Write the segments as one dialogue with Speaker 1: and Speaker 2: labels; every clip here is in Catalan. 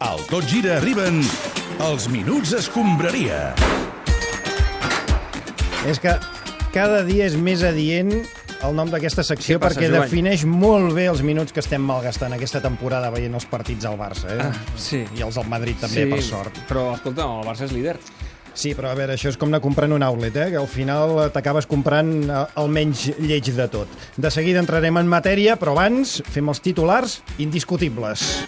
Speaker 1: Al Tot Gira arriben els Minuts Escombraria.
Speaker 2: És que cada dia és més adient el nom d'aquesta secció
Speaker 3: Què passa,
Speaker 2: perquè
Speaker 3: Joan?
Speaker 2: defineix molt bé els minuts que estem malgastant aquesta temporada veient els partits al Barça, eh?
Speaker 3: Ah, sí.
Speaker 2: I els del Madrid també, per sort.
Speaker 3: Però, escolta, el Barça és líder.
Speaker 2: Sí, però a veure, això és com anar comprant un outlet, eh? Que al final eh, t'acabes comprant eh, el menys lleig de tot. De seguida entrarem en matèria, però abans fem els titulars indiscutibles.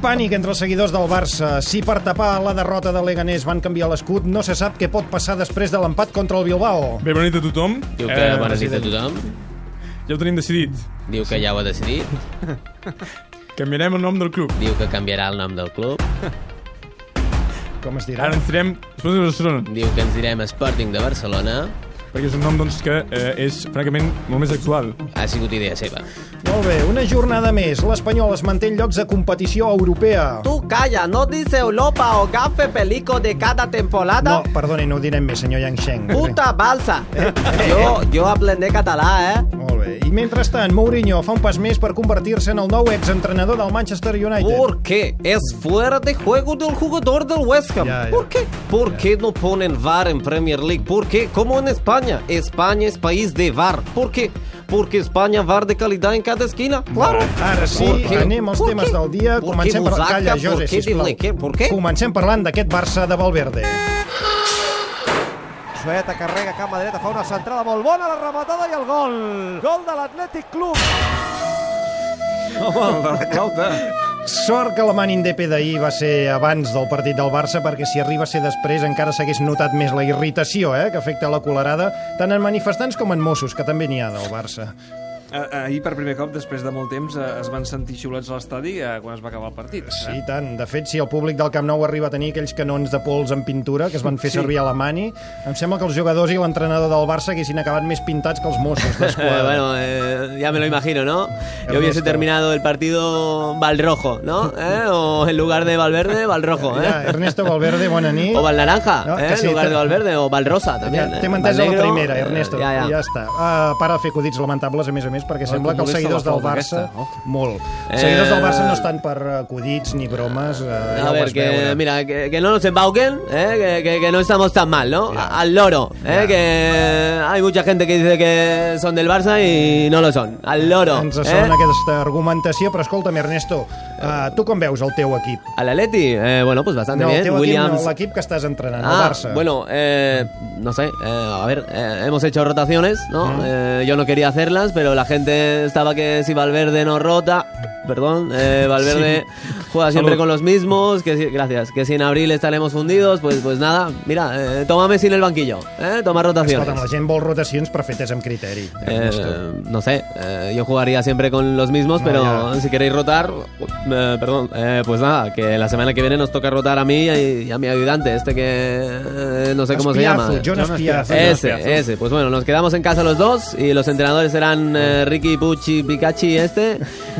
Speaker 2: Pànic entre els seguidors del Barça. Si per tapar la derrota de Leganés van canviar l'escut, no se sap què pot passar després de l'empat contra el Bilbao.
Speaker 4: Bé, bona nit a tothom.
Speaker 5: Diu que eh, bona nit a tothom,
Speaker 4: Ja ho tenim decidit.
Speaker 5: diu que ja ho ha decidit,
Speaker 4: Canviarem el nom del club.
Speaker 5: diu que canviarà el nom del club,
Speaker 2: Com es dirà?
Speaker 4: Ara ens direm... Després de Barcelona,
Speaker 5: diu que ens direm Sporting de Barcelona,
Speaker 4: perquè és un nom doncs, que eh, és, francament, molt més actual.
Speaker 5: ha sigut idea seva.
Speaker 2: Molt bé, una jornada més. L'Espanyol es manté en llocs de competició europea.
Speaker 6: Tú calla, no dice Europa o gafe pelico de cada temporada.
Speaker 2: No, Eh, perdoni, no ho direm més, senyor Yang Sheng.
Speaker 6: Puta balsa. Yo, yo aprendí catalán, ¿eh?
Speaker 2: Molt bé. I mentrestant, Mourinho fa un pas més per convertir-se en el nou exentrenador del Manchester United.
Speaker 6: Porque es fuera de juego del jugador del West Ham.
Speaker 2: Ya, ya.
Speaker 6: ¿Por qué? ¿Por qué no ponen VAR en Premier League? ¿Por qué? Como en España. España es país de VAR. ¿Por qué? Porque España VAR de calidad en cada esquina. Claro.
Speaker 2: Ara sí,
Speaker 6: ¿Por qué?
Speaker 2: anem als
Speaker 6: ¿Por
Speaker 2: temes
Speaker 6: qué?
Speaker 2: del dia.
Speaker 6: ¿Por qué
Speaker 2: Comencem per...
Speaker 6: Busaca?
Speaker 2: Calla,
Speaker 6: ¿Por
Speaker 2: José,
Speaker 6: qué
Speaker 2: sisplau.
Speaker 6: Dibleque? ¿Por qué?
Speaker 2: Comencem parlant d'aquest Barça de Valverde.
Speaker 7: Sueta carrega cap a dreta, fa una centrada molt bona, la rematada i el gol. Gol de l'Atlètic Club.
Speaker 2: Sort que la man indepe d'ahir va ser abans del partit del Barça, perquè si arriba a ser després encara s'hagués notat més la irritació eh, que afecta la colerada, tant en manifestants com en Mossos, que també n'hi ha del Barça.
Speaker 3: Ah, ahir, per primer cop, després de molt temps, eh, es van sentir xiulets a l'estadi eh, quan es va acabar el partit. Eh,
Speaker 2: Sí, i
Speaker 8: Eh?
Speaker 2: tant. De fet, si el públic del Camp Nou arriba a tenir aquells canons de pols en pintura que es van fer sí. servir a la mani, em sembla que els jugadors i l'entrenador del Barça haguessin acabat més pintats que els Mossos
Speaker 8: Eh,
Speaker 2: d'Esquadra.
Speaker 8: bueno, eh, ya me lo imagino, ¿no? Yo hubiese
Speaker 2: Ernesto.
Speaker 8: terminado el partido Valrojo, ¿no? ¿Eh? O en lugar de Valverde, Valrojo,
Speaker 2: Ja,
Speaker 8: ¿eh?
Speaker 2: Ernesto Valverde, bona nit.
Speaker 8: O Valnaranja,
Speaker 2: No,
Speaker 8: ¿eh?
Speaker 2: que
Speaker 8: En
Speaker 2: sí,
Speaker 8: lugar
Speaker 2: te-
Speaker 8: de Valverde, o Valrosa
Speaker 2: Ja,
Speaker 8: también. ¿eh?
Speaker 2: T'hem entès a la
Speaker 8: Valnegro,
Speaker 2: primera,
Speaker 8: eh,
Speaker 2: Ernesto.
Speaker 8: ya, ya.
Speaker 2: ja està. Uh, para de fer acudits lamentables, a més a més,
Speaker 8: Ah,
Speaker 2: perquè sembla
Speaker 3: com
Speaker 2: que els
Speaker 3: molesta
Speaker 2: seguidors
Speaker 3: la
Speaker 2: del
Speaker 3: falta
Speaker 2: Barça...
Speaker 3: aquesta, oh.
Speaker 2: Molt. Els
Speaker 8: Eh,
Speaker 2: seguidors del Barça no estan per acudits ni bromes. Uh, ja
Speaker 8: A
Speaker 2: ho
Speaker 8: ver,
Speaker 2: vas
Speaker 8: que
Speaker 2: veure.
Speaker 8: mira, que, que no nos embauquen, ¿eh? que, que- que no estamos tan mal, ¿no? A- Al loro, ¿eh? que hay mucha gente que dice que son del Barça y no lo son. Al loro.
Speaker 2: Ens
Speaker 8: ¿eh?
Speaker 2: sona aquesta argumentació, però escolta'm, Ernesto, uh, tu com veus el teu equip?
Speaker 8: Al Atleti, eh, bueno, pues bastante
Speaker 2: No, el
Speaker 8: bien.
Speaker 2: teu equip,
Speaker 8: Williams,
Speaker 2: no, l'equip que estàs entrenant, el
Speaker 8: Ah,
Speaker 2: Barça.
Speaker 8: bueno, eh, no sé, eh, a ver, eh, hemos hecho rotaciones, ¿no? Eh, yo no quería hacerlas, pero la gente estaba que si Valverde no rota, perdón, eh, Valverde juega siempre
Speaker 4: Salud.
Speaker 8: con los mismos, que si- gracias, que si en abril estaremos fundidos, pues, pues nada, mira, eh, tómame sin el banquillo, ¿eh? toma rotaciones.
Speaker 2: Escolta'm, la gent vol rotacions per fetes amb criteri.
Speaker 8: Eh,
Speaker 2: Ernesto. Ah,
Speaker 8: no sé, eh, yo jugaría siempre con los mismos, pero
Speaker 2: ya.
Speaker 8: si queréis rotar, eh, perdón, eh, pues nada, que la semana que viene nos toca rotar a mí y, y a mi ayudante, este que eh, no sé cómo se llama.
Speaker 2: Espiazu, Jonas Espiazu.
Speaker 8: Ese, ese. Pues bueno, nos quedamos en casa los dos y los entrenadores serán eh, Ricky, Pucci, Picachi, este,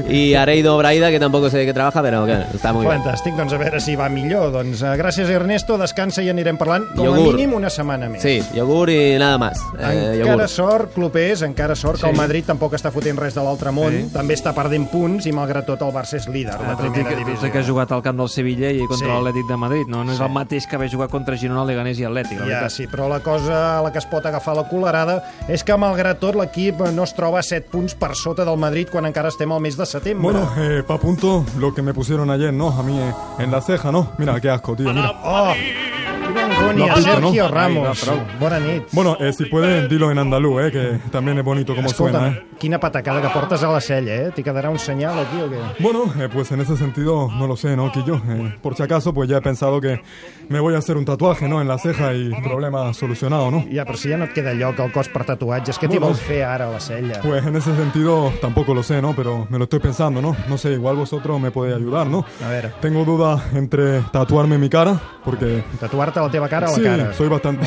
Speaker 8: y Areido Braida, que tampoco sé de qué trabaja, pero que está muy bien.
Speaker 2: Fantàstic, doncs a veure si va millor. Doncs eh, gràcies, Ernesto, descansa i anirem parlant com a
Speaker 8: Iogur.
Speaker 2: mínim una setmana més.
Speaker 8: Sí, eh, yogur y nada más. Eh,
Speaker 2: Encara
Speaker 8: yogur.
Speaker 2: sort, clubers, encara sort que el Madrid tampoc està fotent res de l'altre món, també està perdent punts i malgrat tot el Barça és líder de
Speaker 3: Ah,
Speaker 2: la
Speaker 3: tot i
Speaker 2: primera
Speaker 3: que, tot i que
Speaker 2: divisió.
Speaker 3: ha jugat al camp del Sevilla i contra
Speaker 2: Sí.
Speaker 3: sí. l'Atlètic de Madrid. No, no és
Speaker 2: Sí.
Speaker 3: el mateix que haver jugat contra Girona, Leganés i Atlètic, la
Speaker 2: Ja,
Speaker 3: veritat.
Speaker 2: sí, però la cosa a la que es pot agafar la colerada és que, malgrat tot, l'equip no es troba a 7 punts per sota del Madrid quan encara estem al mes de setembre.
Speaker 4: Bueno, eh, pa' punto lo que me pusieron ayer, ¿no? A mí eh, en la ceja, ¿no? Mira, qué asco, tío, mira.
Speaker 2: Oh, quina angúnia,
Speaker 4: No, no,
Speaker 2: Sergio
Speaker 4: no.
Speaker 2: Ramos.
Speaker 4: Ai, va, bravo.
Speaker 2: Bona nit.
Speaker 4: Bueno, eh, si pueden, dilo en andaluz, ¿eh? Que también es bonito como suena, ¿eh?
Speaker 2: quina patacada que portes a la cella, eh? T'hi quedarà un senyal aquí o què?
Speaker 4: Bueno, eh, pues en ese sentido no lo sé, ¿no, Quillo? Eh, por si acaso, pues ya he pensado que me voy a hacer un tatuaje, ¿no? En la ceja y problema solucionado, ¿no?
Speaker 2: Ja, però si ja no et queda lloc al cos per tatuatges, què t'hi
Speaker 4: Bueno.
Speaker 2: vols fer ara a la cella?
Speaker 4: Pues en ese sentido tampoco lo sé, ¿no? Pero me lo estoy pensando, ¿no? No sé, igual vosotros me podéis ayudar, ¿no?
Speaker 2: A ver.
Speaker 4: Tengo duda entre tatuarme mi cara, porque...
Speaker 2: Tatuar-te la teva cara a la
Speaker 4: sí,
Speaker 2: cara.
Speaker 4: soy bastante...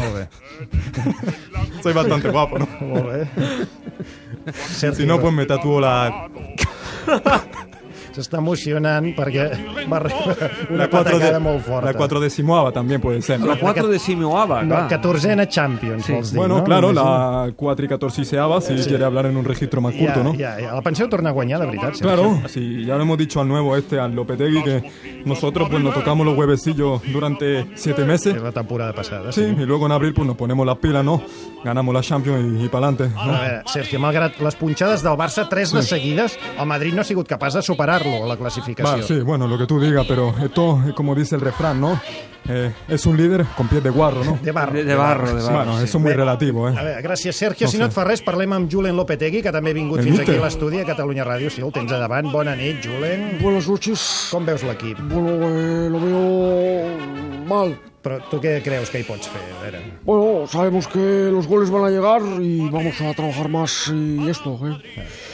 Speaker 4: soy bastante guapo, ¿no?
Speaker 2: Molt bé. Sergio,
Speaker 4: Si no, pues me tatúo la...
Speaker 2: s'està emocionant perquè va rebre una
Speaker 4: cuatro
Speaker 2: patacada
Speaker 4: de-
Speaker 2: molt forta.
Speaker 4: la cuatrodecimoava también puede ser.
Speaker 3: La 4 de Simioaba,
Speaker 2: No,
Speaker 3: clar.
Speaker 2: 14a Champions,
Speaker 3: Sí.
Speaker 2: vols dir,
Speaker 4: Bueno,
Speaker 2: no?
Speaker 4: claro,
Speaker 2: M'imagino.
Speaker 4: la cuatricatorciseava, si quiere hablar en un registro más
Speaker 2: Ja,
Speaker 4: corto, ¿no?
Speaker 2: ja, ja. La penseu tornar a guanyar, de veritat? Sergi?
Speaker 4: Claro, sí, ya lo hemos dicho al nuevo este, al Lopetegui, que nosotros pues nos tocamos los huevecillos durante siete meses.
Speaker 2: És la temporada passada.
Speaker 4: Sí, y luego en abril pues nos ponemos las pilas, ¿no? Ganamos la Champions y, para adelante,
Speaker 2: A veure, Sergio, malgrat les punxades del Barça, tres de seguides, el Madrid no ha sigut capaç de superar-lo a la classificació.
Speaker 4: Va, sí, bueno, lo que tú digas, pero esto, eh, como dice el refrán, ¿no? Eh, es un líder con pies de guarro, ¿no?
Speaker 2: De barro.
Speaker 3: De, de barro, de barro.
Speaker 4: Bueno,
Speaker 3: sí.
Speaker 4: eso es muy
Speaker 2: Bé,
Speaker 4: relativo,
Speaker 2: A
Speaker 4: ¿eh?
Speaker 2: veure, gràcies, Sergio.
Speaker 4: No
Speaker 2: si no
Speaker 4: sé.
Speaker 2: et fa res, parlem amb Julen Lopetegui, que també ha vingut
Speaker 4: El
Speaker 2: fins
Speaker 4: míster.
Speaker 2: aquí a l'estudi a Catalunya Ràdio. Sí, el tens a davant. Bona nit, Julen.
Speaker 9: Buenas noches.
Speaker 2: Com veus l'equip?
Speaker 9: Bueno, eh, lo veo mal.
Speaker 2: Però tu què creus que hi pots fer? A veure.
Speaker 9: Bueno, sabemos que los goles van a llegar y vamos a trabajar más y esto, ¿eh?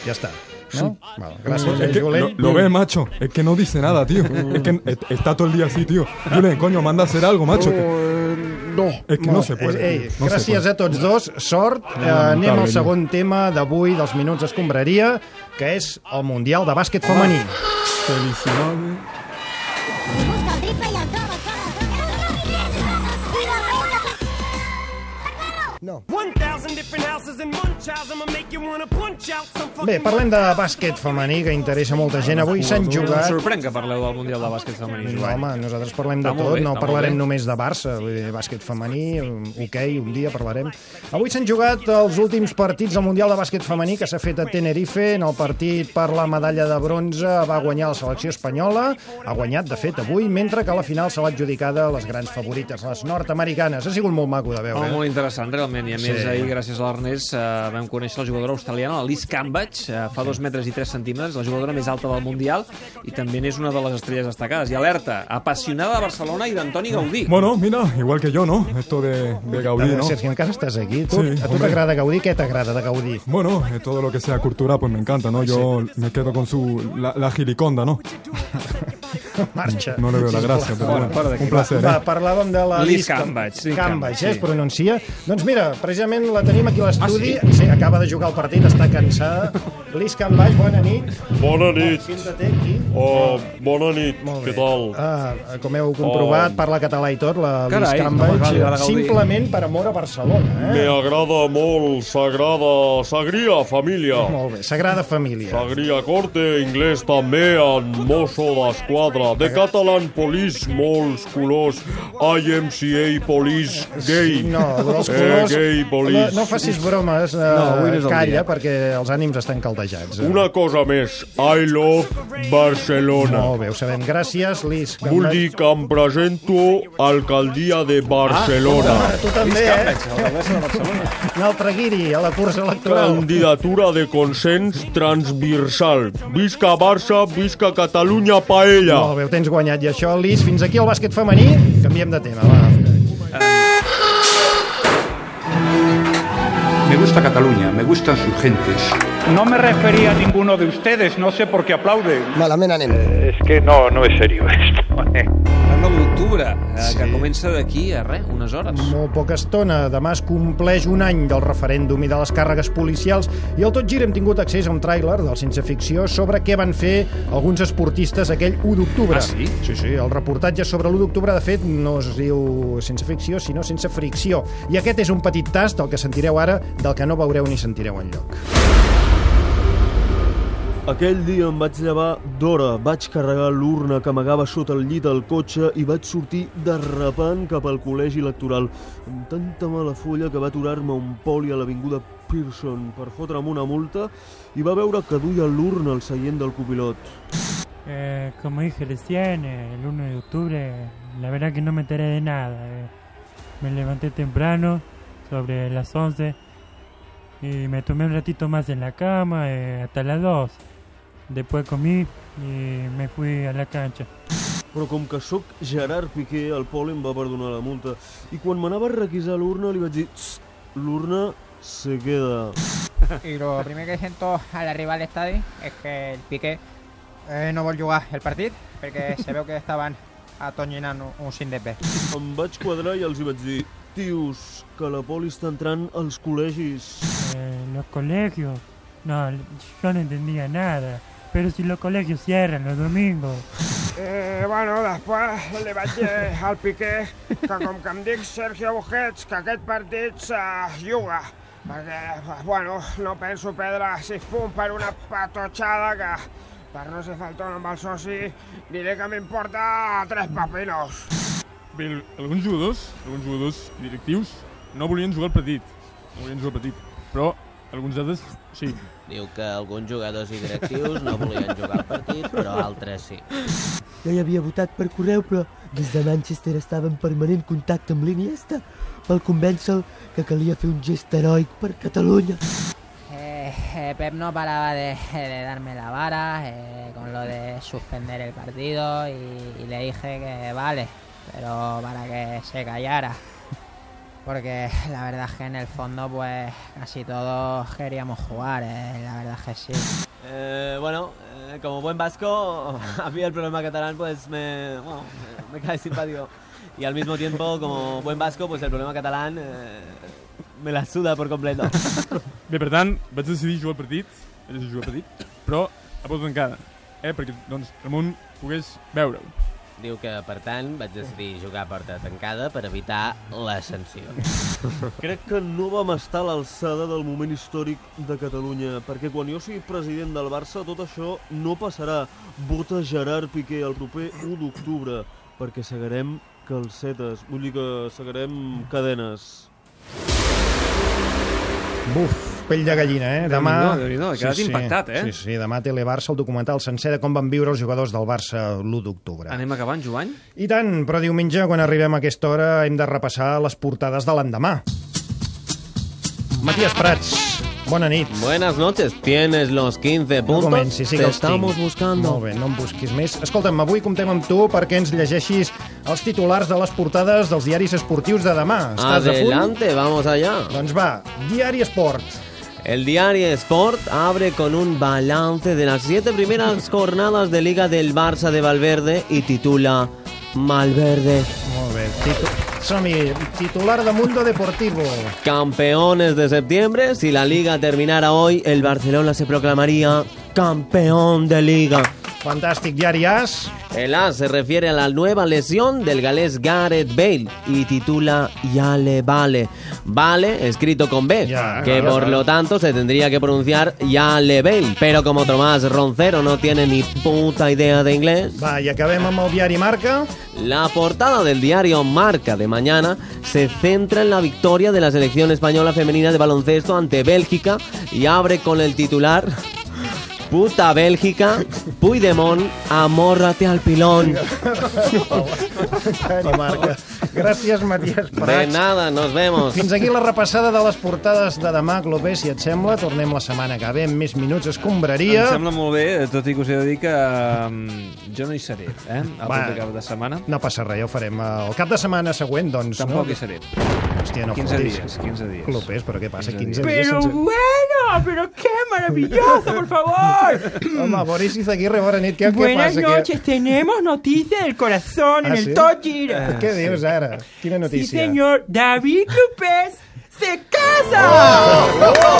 Speaker 2: Ja està. No? Val, gràcies,
Speaker 4: Es
Speaker 2: eh,
Speaker 4: que lo,
Speaker 2: Julen.
Speaker 4: lo ves, macho. Es que no dice nada, tío. Es que eh, está todo el día así, tío. Julen, coño, manda a hacer algo, macho.
Speaker 9: Pero,
Speaker 4: que-
Speaker 9: eh, no.
Speaker 4: es que no se puede.
Speaker 2: Ei,
Speaker 4: tío,
Speaker 2: ei,
Speaker 4: no se
Speaker 2: gràcies
Speaker 4: puede.
Speaker 2: a tots dos. Sort. Eh, anem al
Speaker 4: Lamentable,
Speaker 2: segon tema d'avui, dels Minuts Escombraria, que és el Mundial de Bàsquet Femení.
Speaker 4: Felicidades.
Speaker 10: Busca el triple i el troba, el troba, el troba.
Speaker 2: Bé, parlem de bàsquet femení, que interessa molta gent. Avui s'han
Speaker 3: Em
Speaker 2: jugat...
Speaker 3: sorprèn que parleu del Mundial de Bàsquet Femení,
Speaker 2: No,
Speaker 3: Joan.
Speaker 2: home, nosaltres parlem de
Speaker 3: Està molt
Speaker 2: tot,
Speaker 3: bé,
Speaker 2: no
Speaker 3: està molt
Speaker 2: parlarem
Speaker 3: bé.
Speaker 2: només de Barça, vull dir, bàsquet femení, hoquei, un dia parlarem. Avui s'han jugat els últims partits del Mundial de Bàsquet Femení que s'ha fet a Tenerife. En el partit per la medalla de bronze va guanyar la selecció espanyola, ha guanyat, de fet, avui, mentre que a la final se l'ha adjudicada a les grans favorites, les nord-americanes. Ha sigut molt maco de
Speaker 3: Home,
Speaker 2: veure. eh?
Speaker 3: molt interessant, realment. I a més,
Speaker 2: Sí.
Speaker 3: ahir, gràcies a l'Ernest, eh, vam conèixer la jugadora australiana, la Liz Cambage, eh, fa dos metres i tres centímetres, la jugadora més alta del Mundial, i també n'és una de les estrelles destacades. I alerta, apassionada de Barcelona i d'Antoni Gaudí.
Speaker 4: Bueno, mira, igual que yo, ¿no? Esto de, de Gaudí,
Speaker 2: Eh?
Speaker 4: ¿no?
Speaker 2: Sergi, encara estàs aquí? Tu,
Speaker 4: Sí,
Speaker 2: a tu
Speaker 4: hombre.
Speaker 2: t'agrada Gaudí? Què t'agrada de Gaudí?
Speaker 4: Bueno, eh, todo lo que sea cultura, pues me encanta, ¿no? Yo me quedo con su. la, la giliconda, ¿no?
Speaker 2: Marxa.
Speaker 4: No le veo la
Speaker 2: Sisplau.
Speaker 4: gracia, pero
Speaker 3: Fora,
Speaker 4: bueno,
Speaker 3: fora d'aquí,
Speaker 4: un placer,
Speaker 2: Va,
Speaker 4: ¿eh?
Speaker 2: parlàvem de la
Speaker 3: Liz Cambage,
Speaker 2: Cambage,
Speaker 3: sí,
Speaker 2: eh,
Speaker 3: Cambage,
Speaker 2: es
Speaker 3: sí.
Speaker 2: pronuncia. Doncs mira, precisament la tenim aquí a l'estudi. Ah, sí? sí? acaba de jugar el partit, està cansada. Liz Cambage, bona nit.
Speaker 11: Bona nit.
Speaker 2: Sienta-te aquí.
Speaker 11: Oh, bona nit.
Speaker 2: Molt bé.
Speaker 11: Què tal?
Speaker 2: Ah, com heu comprovat,
Speaker 11: Oh.
Speaker 2: parla català i tot, la Liz
Speaker 3: Carai, no
Speaker 2: Cambage,
Speaker 3: m'agrada, m'agrada Gaudí.
Speaker 2: simplement per amor a Barcelona.
Speaker 11: Me
Speaker 2: Eh?
Speaker 11: agrada molt, s'agrada, s'agria, família.
Speaker 2: Molt bé, Sagrada Família.
Speaker 11: S'agria corte, anglès també, en mosso d'esquadra. De Catalan Police, molts colors. IMCA Police, gay.
Speaker 2: No, els
Speaker 11: Eh,
Speaker 2: colors...
Speaker 11: gay
Speaker 2: no,
Speaker 11: police.
Speaker 2: no facis bromes, eh,
Speaker 3: avui no és el
Speaker 2: calla,
Speaker 3: dia.
Speaker 2: perquè els ànims estan caldejats. Eh?
Speaker 11: Una cosa més, I love Barcelona.
Speaker 2: Molt bé, ho sabem. Gràcies, Liz.
Speaker 11: Vull dir que em presento alcaldia de Barcelona.
Speaker 2: Tu també, eh? Un altre guiri a la cursa electoral.
Speaker 11: Candidatura de consens transversal. Visca Barça, visca Catalunya, paella.
Speaker 2: Molt bé, ho tens guanyat. I això, Liz, fins aquí el bàsquet femení. Canviem de tema, va.
Speaker 1: Me gusta Cataluña, me gustan sus gentes.
Speaker 7: No me refería a ninguno de ustedes, no sé por qué aplauden.
Speaker 9: Malament anem.
Speaker 11: Es que no, no es serio esto.
Speaker 3: El 9 d'octubre, eh, que comença d'aquí a res, unes hores.
Speaker 2: Molt poca estona. Demà es compleix un any del referèndum i de les càrregues policials i al Tot Gira hem tingut accés a un tràiler del Sense Ficció sobre què van fer alguns esportistes aquell 1 d'octubre.
Speaker 3: Ah, sí?
Speaker 2: Sí, sí, el reportatge sobre l'1 d'octubre, de fet, no es diu Sense Ficció, sinó Sense Fricció. I aquest és un petit tast del que sentireu ara, del que no veureu ni sentireu enlloc.
Speaker 6: Aquell dia em vaig llevar d'hora, vaig carregar l'urna que amagava sota el llit del cotxe i vaig sortir derrapant cap al col·legi electoral, amb tanta mala folla que va aturar-me un poli a l'avinguda Pearson per fotre'm una multa i va veure que duia l'urna al seient del copilot.
Speaker 9: como dije recién, el 1 de octubre, la verdad que no me enteré de nada. Me levanté temprano, sobre las 11, y me tomé un ratito más en la cama, hasta las 2. Después comí y me fui a la cancha.
Speaker 6: Però com que sóc Gerard Piqué, el Pol em va perdonar la multa. I quan m'anava a requisar l'urna li vaig dir "Tss, l'urna se queda.
Speaker 9: Y lo primero que siento al arribar al estadio es que el Piqué eh, no vol jugar el partido, porque se veu que estaban atonginant un- un sin de pe.
Speaker 6: Em vaig quadrar i els hi vaig dir tios, que la poli està entrant als col·legis.
Speaker 9: los colegios, no, yo no entendía nada. Pero si los colegios cierran los domingos.
Speaker 12: Eh, bueno, després li vaig dir al Piqué que com que em dic Sergio Bujets, que aquest partit se juga. Perquè, eh, bueno, no penso perdre sis punts per una patotxada que, per no ser faltón amb el soci, diré que m'importa tres papinos.
Speaker 4: Bé, al- alguns jugadors, alguns jugadors i directius no volien jugar el partit. No volien jugar el partit. Però alguns altres sí.
Speaker 5: Diu que alguns jugadors i directius no volien jugar el partit, però altres sí.
Speaker 13: Jo hi havia votat per correu, però des de Manchester estava en permanent contacte amb l'Iniesta pel convèncer que calia fer un gest heroic per Catalunya.
Speaker 14: Eh, eh, Pep no paraba de, de darme la vara eh, con lo de suspender el partido y, y le dije que vale, pero para que se callara. Porque la verdad es que en el fondo pues casi todos queríamos jugar, eh, la verdad es que sí.
Speaker 8: Eh, bueno, eh, como buen vasco, a mí el problema catalán pues me, bueno, me, me cae simpático. Y al mismo tiempo, como buen vasco, pues el problema catalán eh, me la suda por completo.
Speaker 4: Bé, per tant, vaig decidir jugar el partit, vaig decidir jugar el partit, però a porta tancada, eh? perquè doncs, el món pogués veure-ho.
Speaker 5: Diu que, per tant, vaig decidir jugar a porta tancada per evitar la sanció.
Speaker 6: Crec que no vam estar a l'alçada del moment històric de Catalunya, perquè quan jo sigui president del Barça tot això no passarà. Vota Gerard Piqué el proper 1 d'octubre, perquè segarem calcetes, vull dir que segarem cadenes.
Speaker 2: Buf, pell de gallina, eh?
Speaker 6: Déu-n'hi-do,
Speaker 2: Demà...
Speaker 6: déu-n'hi-do, he quedat impactat, eh?
Speaker 2: Sí, sí, demà Telebarça, el documental sencer de com van viure els jugadors del Barça l'1 d'octubre.
Speaker 3: Anem acabant, Joan?
Speaker 2: I tant, però diumenge, quan arribem a aquesta hora, hem de repassar les portades de l'endemà. Matías Prats, bona nit.
Speaker 5: Buenas noches, tienes los 15 puntos.
Speaker 2: No comencis, sí que
Speaker 5: Te
Speaker 2: els tinc.
Speaker 5: estamos buscando.
Speaker 2: Molt bé, no em busquis més. Escolta'm, avui comptem amb tu perquè ens llegeixis els titulars de les portades dels diaris esportius de demà. Estàs
Speaker 5: Adelante, vamos allá.
Speaker 2: Doncs va, Diari Sport.
Speaker 5: El diario Sport abre con un balance de las siete primeras jornadas de Liga del Barça de Valverde y titula Malverde.
Speaker 2: a punt? Molt bé. Titu... Som-hi, titular de Mundo Deportivo.
Speaker 5: Campeones de septiembre, si la liga terminara hoy, el Barcelona se proclamaría campeón de liga.
Speaker 2: Fantástico, Diari As.
Speaker 5: El As se refiere a la nueva lesión del galés Gareth Bale y titula Ya le vale. Vale, escrito con B, que
Speaker 8: claro,
Speaker 5: por
Speaker 8: claro.
Speaker 5: lo tanto se tendría que pronunciar Ya le Bale. Pero como Tomás Roncero no tiene ni puta idea de inglés,
Speaker 2: Va, i acabem amb el diari Marca.
Speaker 5: la portada del diario Marca de mañana se centra en la victoria de la selección española femenina de baloncesto ante Bélgica y abre con el titular Puta Bélgica, Puigdemont, amórrate al pilón.
Speaker 2: Diari Marca. Gràcies, Matías
Speaker 5: De
Speaker 2: Prats.
Speaker 5: nada, nos vemos.
Speaker 2: Fins aquí la repassada de les portades de demà, Clopé, si et sembla. Tornem la setmana que ve amb més minuts escombraria.
Speaker 3: Em sembla molt bé, eh, tot i que us he de dir que um, jo no hi seré, eh?
Speaker 2: Va.
Speaker 3: El proper cap de setmana.
Speaker 2: No passa res, ja ho farem eh, el cap de setmana següent, doncs.
Speaker 3: Tampoc
Speaker 2: no?
Speaker 3: hi seré.
Speaker 2: Hòstia, no
Speaker 3: 15
Speaker 2: fotis.
Speaker 3: dies, 15 dies.
Speaker 2: Clopés, però què passa? 15 dies.
Speaker 15: Pero bueno, pero qué maravilloso, por favor.
Speaker 2: Home, Boris Izaguirre, bona nit. Què, què
Speaker 15: Buenas
Speaker 2: passa?
Speaker 15: noches, tenemos noticia del corazón en
Speaker 2: Ah,
Speaker 15: el
Speaker 2: sí?
Speaker 15: Tojir.
Speaker 2: Què dius ara? Quina
Speaker 15: Sí,
Speaker 2: notícia?
Speaker 15: señor, David López se
Speaker 2: Oh,
Speaker 15: casa. ¡Bravo!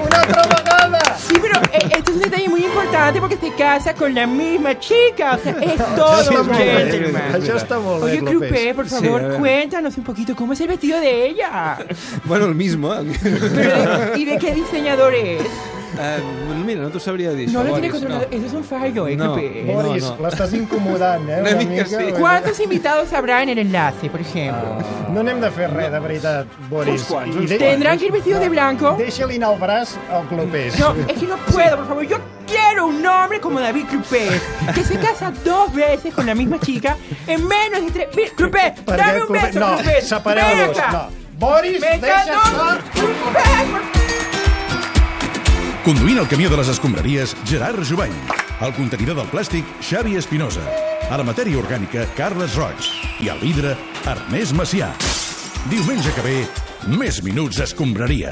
Speaker 2: ¡Una
Speaker 15: Sí, pero eh, este es un detalle muy importante porque se casa con la misma chica. O sea, es todo
Speaker 2: Sí,
Speaker 15: un
Speaker 2: molt bé.
Speaker 15: gentleman.
Speaker 2: Això està molt bé,
Speaker 15: Oye,
Speaker 2: Clopés.
Speaker 15: Clupé, por
Speaker 2: Sí,
Speaker 15: favor,
Speaker 2: a ver.
Speaker 15: cuéntanos un poquito cómo es el vestido de ella.
Speaker 16: Bueno, el mismo. ¿eh?
Speaker 15: Pero, ¿Y de qué diseñador es?
Speaker 16: Eh, mira, no t'ho sabria dir.
Speaker 15: No
Speaker 16: això,
Speaker 15: lo tiene
Speaker 16: Boris,
Speaker 15: controlado. Eso es un fallo, eh,
Speaker 16: No,
Speaker 15: Clupé.
Speaker 16: no, Boris, no.
Speaker 2: L'estàs incomodant, eh?
Speaker 15: Una mica
Speaker 2: bueno.
Speaker 15: ¿Cuántos invitados habrá en el enlace, por ejemplo?
Speaker 2: No n'hem de fer res, de veritat, Boris.
Speaker 15: Uns quants,
Speaker 2: I- i
Speaker 15: uns
Speaker 2: de-
Speaker 15: quants. Tendran que ir vestidos de blanco.
Speaker 2: Deixa-li anar el braç al Clopés.
Speaker 15: No, es que no puedo, por favor. Yo quiero un hombre como David Clupé, que se casa dos veces con la misma chica en menos de tres. Mira, Clupé,
Speaker 2: Per
Speaker 15: dame
Speaker 2: què,
Speaker 15: un
Speaker 2: Clupé?
Speaker 15: beso,
Speaker 2: No,
Speaker 15: Clupé.
Speaker 2: separeu-los,
Speaker 15: Ven acá.
Speaker 2: no. Boris,
Speaker 15: Me
Speaker 2: deixa
Speaker 15: encanta-
Speaker 2: estar.
Speaker 1: Conduint el camió de les escombraries, Gerard Jubany. El contenidor del plàstic, Xavi Espinosa. A la matèria orgànica, Carles Roig. I al vidre, Ernest Macià. Diumenge que ve, més minuts escombraria.